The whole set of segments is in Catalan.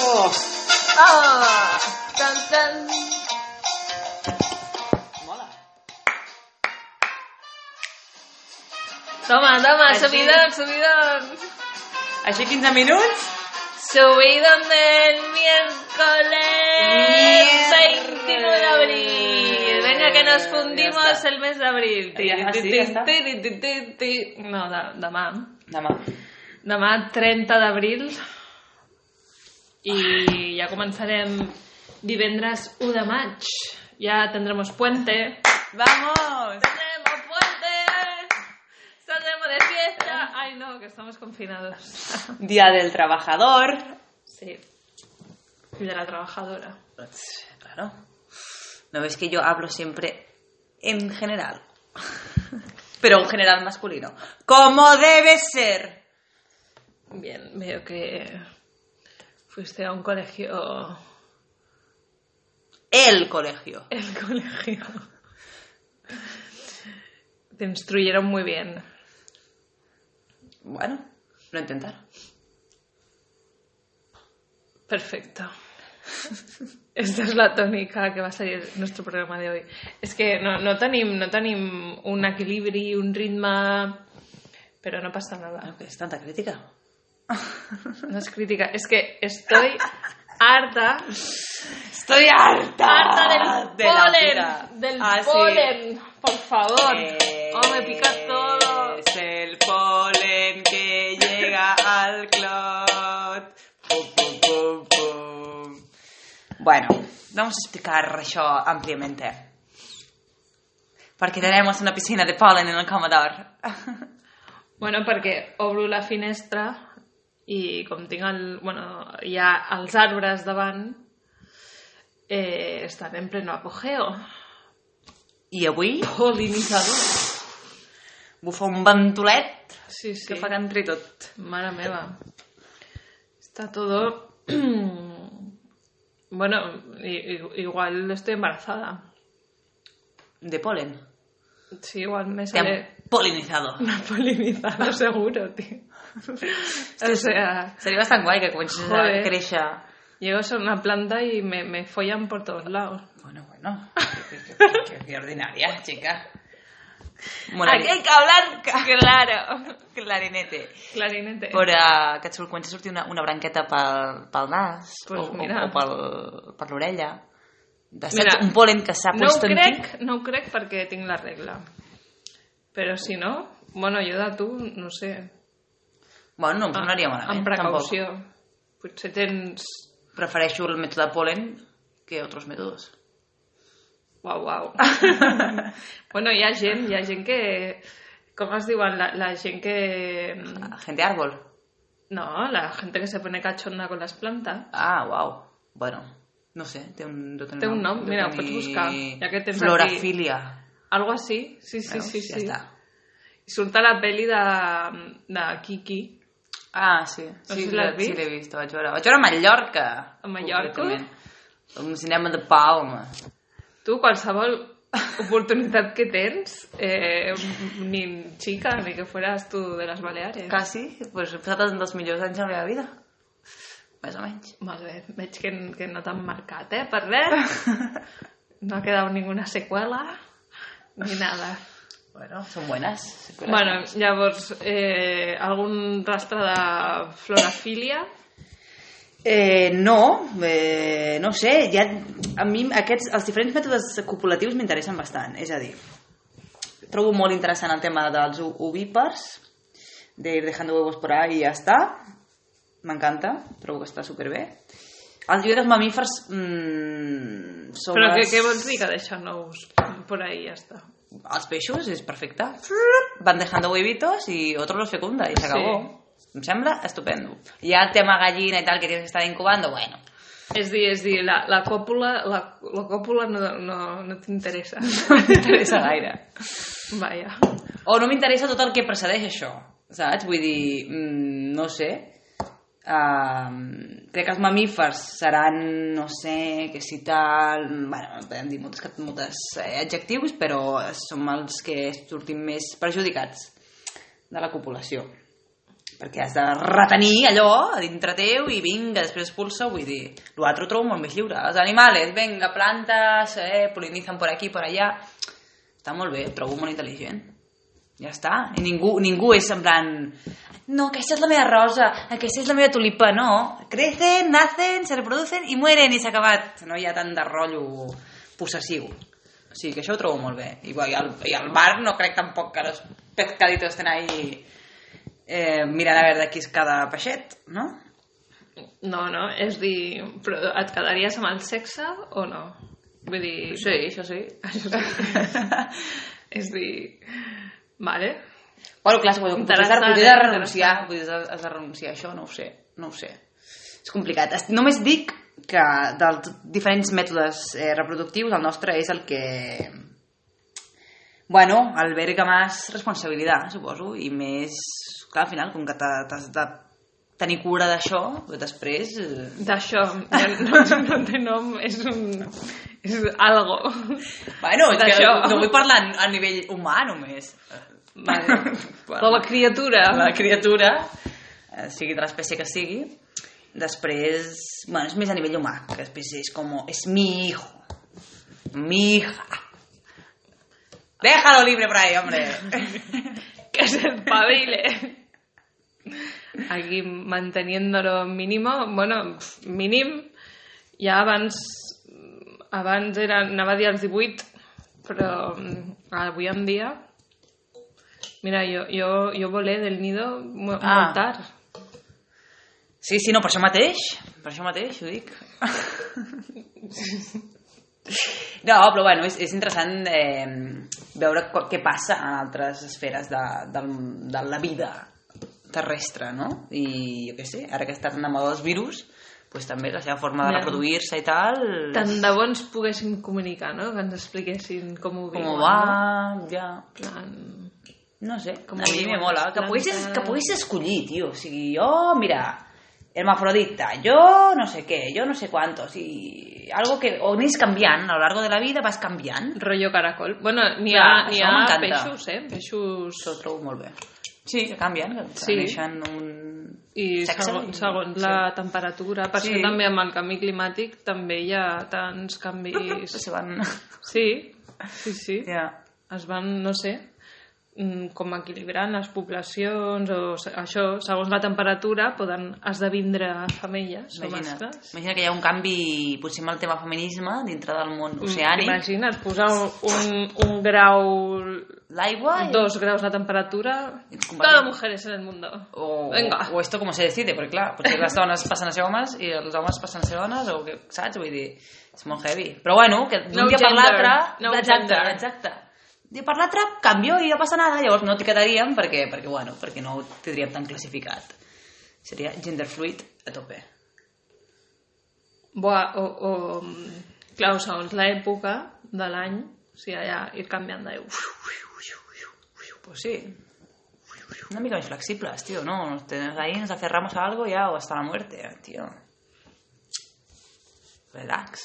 Oh. ¡Ah! ¡Tan, tan! Mola. Toma, toma, Així. subidón, subidón. Així 15 minuts. Subidón del miércoles Mierda. 29 de abril. Venga, que nos Ja fundimos està. el mes d'abril. Ti, Ja, ti, sí, ti, ja està. ti, ti, ti, ti, ti. No, de, demà. Demà. Demà 30 d'abril. I ja començarem divendres 1 de maig. Ja tendremos puente. Vamos. ¡Tenemos puente! ¡Saldremos de fiesta! Ay, no, que estamos confinados. Día del trabajador. Sí. Y de la trabajadora. Pues, Claro. ¿No ves que yo hablo siempre en general? Pero en general masculino. Como debe ser. Bien, veo que fuiste a un colegio... El colegio. El colegio. Te instruyeron muy bien. Bueno, lo intentaron. Perfecto. Esta és la tònica que va ser el nostre programa de hoy. És que no, no, tenim, no tenim un equilibri, un ritme... Però no passa nada. Bueno, que es tanta crítica. No es crítica, es que estoy harta, Estoy harta. harta del de la vida. polen, del Ah, sí. polen, por favor. Eh, Oh, me pica todo. Es el polen que llega al clot. Pum, pum, pum, pum. Bueno, vamos a explicar eso ampliamente. Porque tenemos una piscina de polen en el comedor. Bueno, perquè obro la finestra i com tinc el... Bueno, hi ha els arbres davant, eh, estan en pleno apogeo. I avui Polinitzador. bufa un ventolet Sí, sí. que fa que entri tot. Mare meva. Está todo... bueno, i- i- igual estoy embarazada. De polen. Sí, igual me Te sale... han polinizado. Una polinizada, seguro, tío. O sea, Sería bastante guay que comences a Joder. créixer. llego a ser una planta y me, me follan por todos lados. Bueno, bueno. Qué, qué- qué- qué- qué ordinaria, chica. Moraria. que hablar claro. clarinete. Clarinete. Però eh, que et surt, quan se surti una, una branqueta pel, pel nas Pues o, mira. o, o pel, per l'orella, de set, Mira, un polen que s'ha No ho puesto en ti. crec, no ho crec perquè tinc la regla. Però si no, bueno, jo de tu, no sé. Bueno, no em sonaria Amb malament, tampoc. precaució. Potser tens... Prefereixo el mètode polen que altres mètodes. Uau, uau. bueno, hi ha gent, hi ha gent que... Com es diuen? La, la gent que... Gente árbol. No, la gente que se pone cachonda con las plantas. Ah, uau. Bueno, no sé, té un, deu tenir Té un nom, deu mira, ho tenir pots buscar, ja que tens Florafilia. Algo así, sí, sí, Veus? sí. ja sí. està. I surt a la peli de, de Kiki, Ah, sí. No Sí, sé si l'he l'has sí, vist. l'he vist, ho vaig veure. Vaig veure a Mallorca. A Mallorca? concretament. Un cinema de Palma. tu qualsevol oportunitat que tens, eh, ni xica, ni que fueras tu de les Baleares. Quasi, pues, he passat un dels millors anys de la meva vida. Més o menys. Molt bé, veig que, que no t'han marcat, eh, per res. No ha quedat ninguna seqüela, ni nada. Bueno, són buenas. Bueno, llavors, eh, algun rastre de florafília? Eh, no, eh, no sé, ja, a mi aquests, els diferents mètodes copulatius m'interessen bastant, és a dir, trobo molt interessant el tema dels o- ovípars, de ir dejando huevos por ahí i ja està, m'encanta, trobo que està superbé. Els jo dels mamífers mm, són Però què, els... què vols dir que deixen nous? Por ahí ja està. Els peixos és perfecte. Van dejando huevitos y otro los fecunda y se acabó. Em sembla estupendo. Ya el tema gallina y tal que tienes que estar incubando, bueno, És dir, és dir, la, la còpula, la, la còpula no, no, no t'interessa. no m'interessa gaire. Vaja. O no m'interessa tot el que precedeix això, saps? Vull dir, mm, no sé, um, crec que els mamífers seran, no sé, que si tal... Bueno, podem dir moltes, moltes eh, adjectius, però som els que sortim més perjudicats de la copulació. perquè has de retenir allò a dintre teu i vinga, després expulsa, vull dir, l'altre ho trobo molt més lliure. Els animals, vinga, plantes, eh, polinitzen per aquí, per allà... Està molt bé, ho trobo molt intel·ligent. Ja està. I ningú, ningú és en plan... No, aquesta és la meva rosa, aquesta és la meva tulipa, no. Crecen, nacen, se reproducen i mueren i s'ha acabat. No hi ha tant de rotllo possessiu. O sigui, que això ho trobo molt bé. I, bueno, i, al, i al bar no crec tampoc que els pescaditos estan ahí eh, mirant a veure qui és cada peixet, no? No, no, és dir, però et quedaries amb el sexe o no? Vull dir... Sí, això sí. Això sí. és dir... Vale. Bueno, clar, potser, potser, has de- Interessant, potser has de eh? renunciar, potser has de- has de renunciar a això, no ho sé, no ho sé. És complicat. Es- Només dic que dels diferents mètodes eh, reproductius, el nostre és el que... Bueno, alberga més responsabilitat, suposo, i més... Clar, al final, com que t'ha- t'has de tenir cura d'això, després... eh, D'això, ja no, no té nom, és un... És algo. Bueno, és que D'això. no vull parlar a nivell humà, només. Vale. Bueno. De la criatura. la criatura, eh, sigui de l'espècie que sigui, després, bueno, és més a nivell humà, que després és com, és mi hijo, mi hija. Déjalo libre por ahí, hombre. Que se espabile. Aquí, manteniéndolo mínimo, bueno, pf, mínim, ja abans, abans era, anava a dir els 18, però mm, avui en dia... Mira, jo, jo, jo volé del nido mo- molt Ah. tard. Sí, sí, no, per això mateix, per això mateix ho dic. No, però bueno, és, és interessant eh, veure co- què passa en altres esferes de, de, de la vida terrestre, no? I jo què sé, ara que està tan de moda els virus, pues també la seva forma de Ja. reproduir-se i tal... Tant de bo ens poguéssim comunicar, no? Que ens expliquessin com ho Com viuen. va, ja... No? Plan... No sé, Com a mi diuen me mola. les Que poguessis, plantes. que poguessis escollir, tio. O sigui, jo, mira, hermafrodita, jo no sé què, jo no sé quantos, i algo que o anis canviant, a lo largo de la vida vas canviant. Rollo caracol. Bueno, n'hi Clar, ha, n'hi això ha m'encanta. peixos, eh? Peixos... Això ho trobo molt bé. Sí, que canvien, que Sí. sí. neixen un... I sexe segons, segons la temperatura, per Sí. això també amb el canvi climàtic també hi ha tants canvis... Sí. Se van... Sí, sí, sí. Ja. Es van, no sé, mm, com equilibrant les poblacions o se- això, segons la temperatura poden esdevindre femelles o Imagina't. mascles. Imagina que hi ha un canvi, potser amb el tema feminisme, dintre del món oceànic. Imagina't posar un, un, un grau, L'aigua... i- dos graus de temperatura... Compartim. Todas mujeres en el mundo. O, Venga. o esto com se decide, perquè clar, potser les dones passen a ser homes i els homes passen a ser dones, o que, saps? Vull dir, és molt heavy. Però bueno, que d'un No dia per gender. l'altre... No exacte, gender. exacte. D'un dia per l'altre canvio i no passa nada, llavors no t'hi quedaríem perquè, perquè, bueno, perquè no ho tindríem tan classificat. Seria gender fluid a tope. Buah, o, o, clar, o segons l'època de l'any, o sigui, allà ir canviant de... Pues sí. Una mica més flexibles, tio, no? Nos tenemos ahí, nos aferramos a algo ya o hasta la muerte, tio. Relax,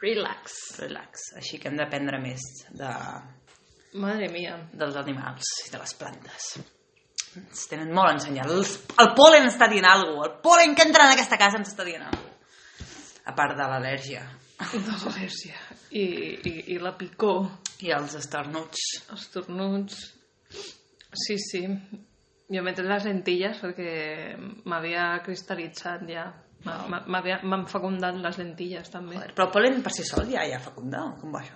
Relax. relax. Així que hem d'aprendre més de, Madre mia. dels animals i de les plantes. Ens tenen molt a ensenyar. El, el polen està dient alguna cosa. El polen que entra en aquesta casa ens està dient alguna cosa. A part de l'al·lèrgia De l'al·lèrgia. Tota I, i, I la picor. i els esternuts. Els tornuts. Sí, sí. Jo m'he tret les lentilles perquè m'havia cristal·litzat ja. M'ha- m'ha- m'havia- M'han fecundat les lentilles, també. Joder, però el polen per si sol ja ja fecunda, o com va això?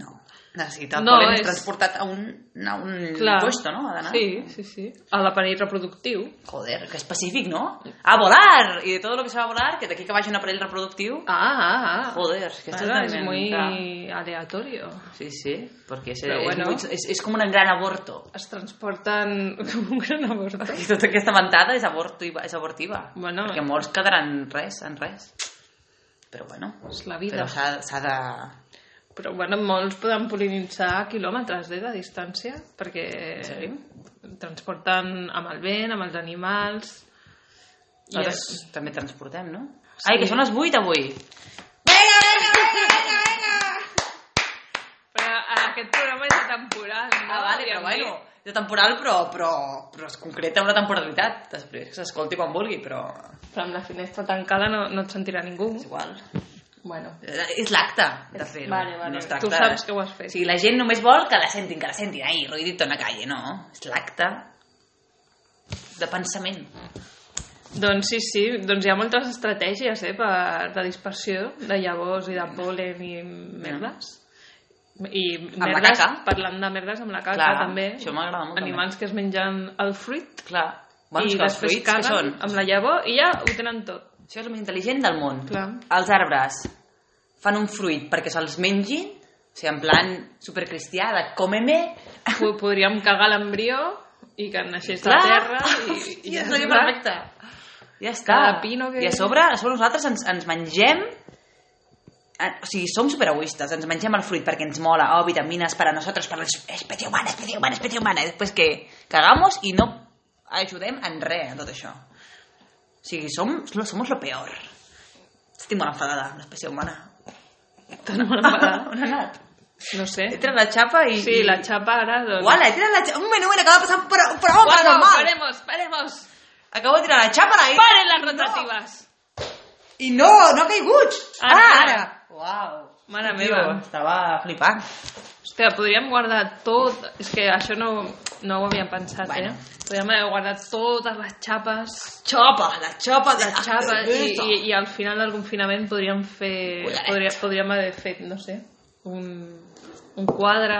No. Necessita el No, polen és- transportat a un, a un puesto, no? Ha d'anar. Sí, sí, sí. A l'aparell reproductiu. Joder, que específic, no? A volar! I de tot el que se va a volar, que d'aquí que vagi un aparell reproductiu... Ah, ah, ah. Joder, que esto Claro, es también, muy claro. aleatorio. Sí, sí, perquè és, Però és, bueno. muy- és, és com un gran aborto. es transporten com un gran aborto. I tota aquesta mentada és abortiva, és abortiva Bueno, perquè molts quedaran res, en res. Però bueno, És la vida. però Però, s'ha s'ha de... bueno, molts poden polinitzar a quilòmetres eh, de distància, perquè Sí. transporten amb el vent, amb els animals... I Nosaltres és- també transportem, no? Sí. Ai, que són les 8 avui! Però, ah, aquest programa és temporal. No? Ah, vale, però Diguem-li. bueno, de temporal, però, però, però es concreta una temporalitat. Després que s'escolti quan vulgui, però Però amb la finestra tancada no, no et sentirà ningú. és igual. Bueno, Eh, És l'acte de És- fer-ho. vale, vale. No es tracta... Tu saps que ho has fet. O sigui, la gent només vol que la sentin, que la sentin. Ai, ruidito en la calle, no. És l'acte de pensament. Mm. doncs sí, sí, doncs hi ha moltes estratègies eh, per, de dispersió de llavors i de pol·len i merdes. I la merdes, caca. parlant de merdes amb la caca Clar, també. això m'agrada molt, també. Animals que es mengen el fruit Clar. Bueno, i és que els després fruits que són? amb la llavor i ja ho tenen tot. Això és el més intel·ligent del món. Clar. Els arbres fan un fruit perquè se'ls mengin, o sigui, en plan supercristià de còmeme, Po- Podríem cagar l'embrió i que naixés Clar. la terra i, i Hòstia, seria està. perfecte. Ja està. Cada pino que- I a sobre, a sobre nosaltres ens, ens mengem en- o sigui, som superegoistes, ens mengem el fruit perquè ens mola, oh, vitamines per a nosaltres, per a l'espècie humana, espècie humana, espècie humana, i després que cagamos i no ajudem en res en tot això. O sigui, som, lo- somos lo peor. Estic molt enfadada amb l'espècie humana. Tan mal enfadada. On ha anat? No sé. He tirat la xapa i... Sí, la xapa ara... Doncs... Uala, he tirat la xapa... Un moment, un moment, acaba de passar un pro- un programa Guau, paranormal. paremos, paremos. Acabo de tirar la xapa i... Paren les rotativas. I no, no ha caigut. Ara. Ah, ara. Uau. Mare Tio, meva. Estava flipant. Hòstia, podríem guardar tot... És que això no, no ho havíem pensat, Bueno. eh? Podríem haver guardat totes les xapes, Xopa, la xopa de les xapes, i, i, i al final del confinament podríem fer... Cuidadet. Podria, podríem haver fet, no sé, un, un quadre,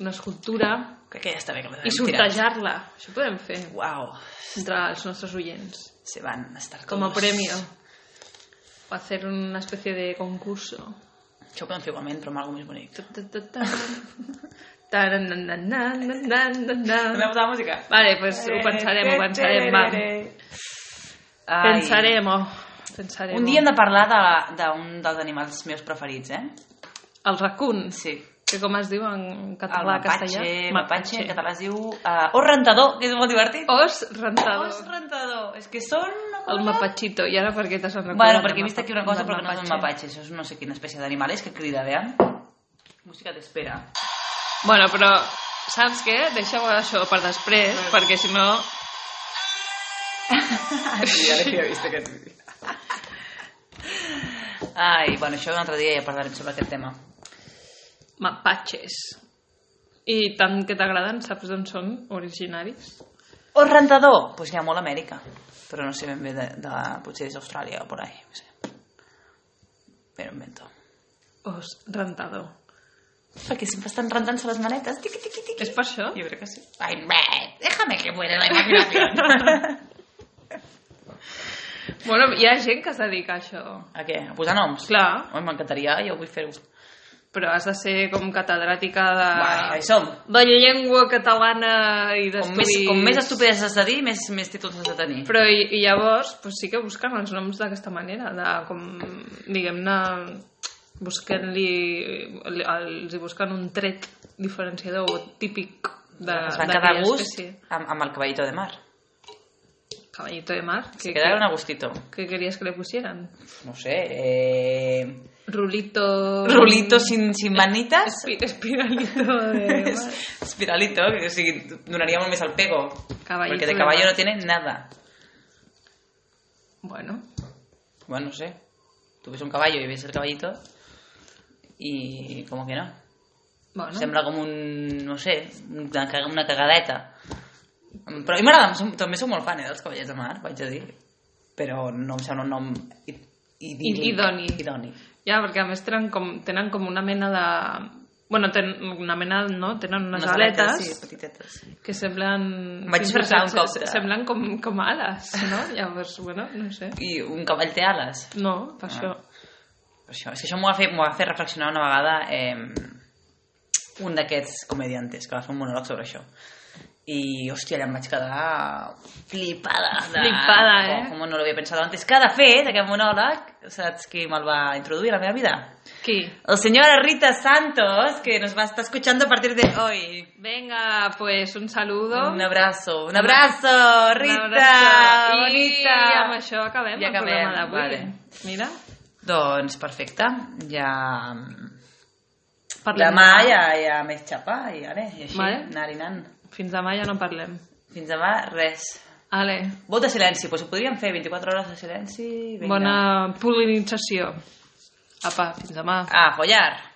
una escultura, Crec que ja està bé que l'hem i sortejar-la. Això podem fer Uau. entre els nostres oients, Se van estar com a todos. premi. O hacer una especie de concurso. Això ho podem fer igualment, però amb alguna més bonic. Tarananananananana. posar música? Vale, pues ho pensarem, ho pensarem, va. Ai. Pensarem, oh, pensarem. Un dia hem de parlar de- d'un de, dels animals meus preferits, eh? El racun, Sí. que com es diu en El català, mapatge, castellà? mapatge, en català es diu... Uh, os rentador, que és molt divertit. Os Os rentador. rentador. És que són... una El cosa- mapachito. I ara per què t'has recordat? Bueno, del perquè he vist mapa- aquí una cosa, del però que no és un mapatge. Això és no sé quina espècie d'animal és que crida, vean. Música t'espera. Bueno, però saps què? Deixa això per després, perquè si no... sí, ja l'havia vist aquest vídeo. Ai, bueno, això un altre dia ja parlarem sobre aquest tema. Mapatges. I tant que t'agraden, saps d'on són originaris? O rentador, doncs pues n'hi ha molt a Amèrica, però no sé ben bé de, de potser és Austràlia o por ahí, no sé. Però invento. Os rentador. Perquè sempre estan rentant-se les manetes. Tiqui, tiqui, tiqui. És per això? Jo crec que sí. Ai, bé, déjame que muera la imaginación. Bueno, hi ha gent que es dedica a això. a què? A posar noms? Clar, Oi, m'encantaria, jo vull fer-ho. però has de ser com catedràtica de, Va, hi som. de llengua catalana i Com més, d'estudis. com més estupides has de dir, més, més títols has de tenir. Però i, i llavors pues sí que busquen els noms d'aquesta manera, de com, diguem-ne, busquen-li, li- els hi busquen un tret diferenciador o típic de, es van quedar a d'aquella gust espècie. amb, amb el caballito de mar. Caballito de mar, Se que, quedaron que, a gustito. que querías que le pusieran? No sé, eh... Pues Rulito... Rulito sin, sin manitas. Espi- Espiralito de mar. Espiralito, o sigui, donaria molt més al pego. Caballito Porque de de caballo mar. no tiene nada. Bueno, Bueno, no sé. Tu ves un caballo y ves el caballito y como que no. bueno. Sembla com un, no sé, una, caga- una cagadeta. Però a mi m'agrada, som- també sóc molt fan eh, dels Cavallers de Mar, vaig a dir. Però no em sembla un nom i- idíl·lic. idoni. idoni. Ja, perquè a més tenen com, tenen com una mena de... Bueno, ten, una mena, no? Tenen unes, Unes aletes, sí, petitetes. que semblen... Em vaig fins i disfressar tot un cop eh? se- de- Semblen com, com ales, no? Llavors, bueno, no sé. I un cavall té ales. No, Ah. per això. Per Això. És que això m'ho va, fer, m'ho va fer reflexionar una vegada eh, un d'aquests comediantes que va fer un monòleg sobre això. I, hòstia, allà em vaig quedar flipada. De... Flipada, eh? Com, com no l'havia pensat antes. Que, de fet, aquest monòleg, saps qui me'l va introduir a la meva vida? Qui? El señor Rita Santos, que nos va estar escuchando a partir de hoy. Venga, pues un saludo. Un abrazo, un abrazo, Un Rita, abrazo. bonita. I amb això acabem I el acabem, programa d'avui. vale. Mira, Doncs perfecte, ja... parlem. Demà ja, ja més xapar i, vale, i així, Vale. anar i anant. Fins demà ja no parlem. Fins demà, res. Ale, Vot de silenci, doncs ho podríem fer, 24 hores de silenci... Vinga. bona pol·linització. Apa, fins demà. A follar!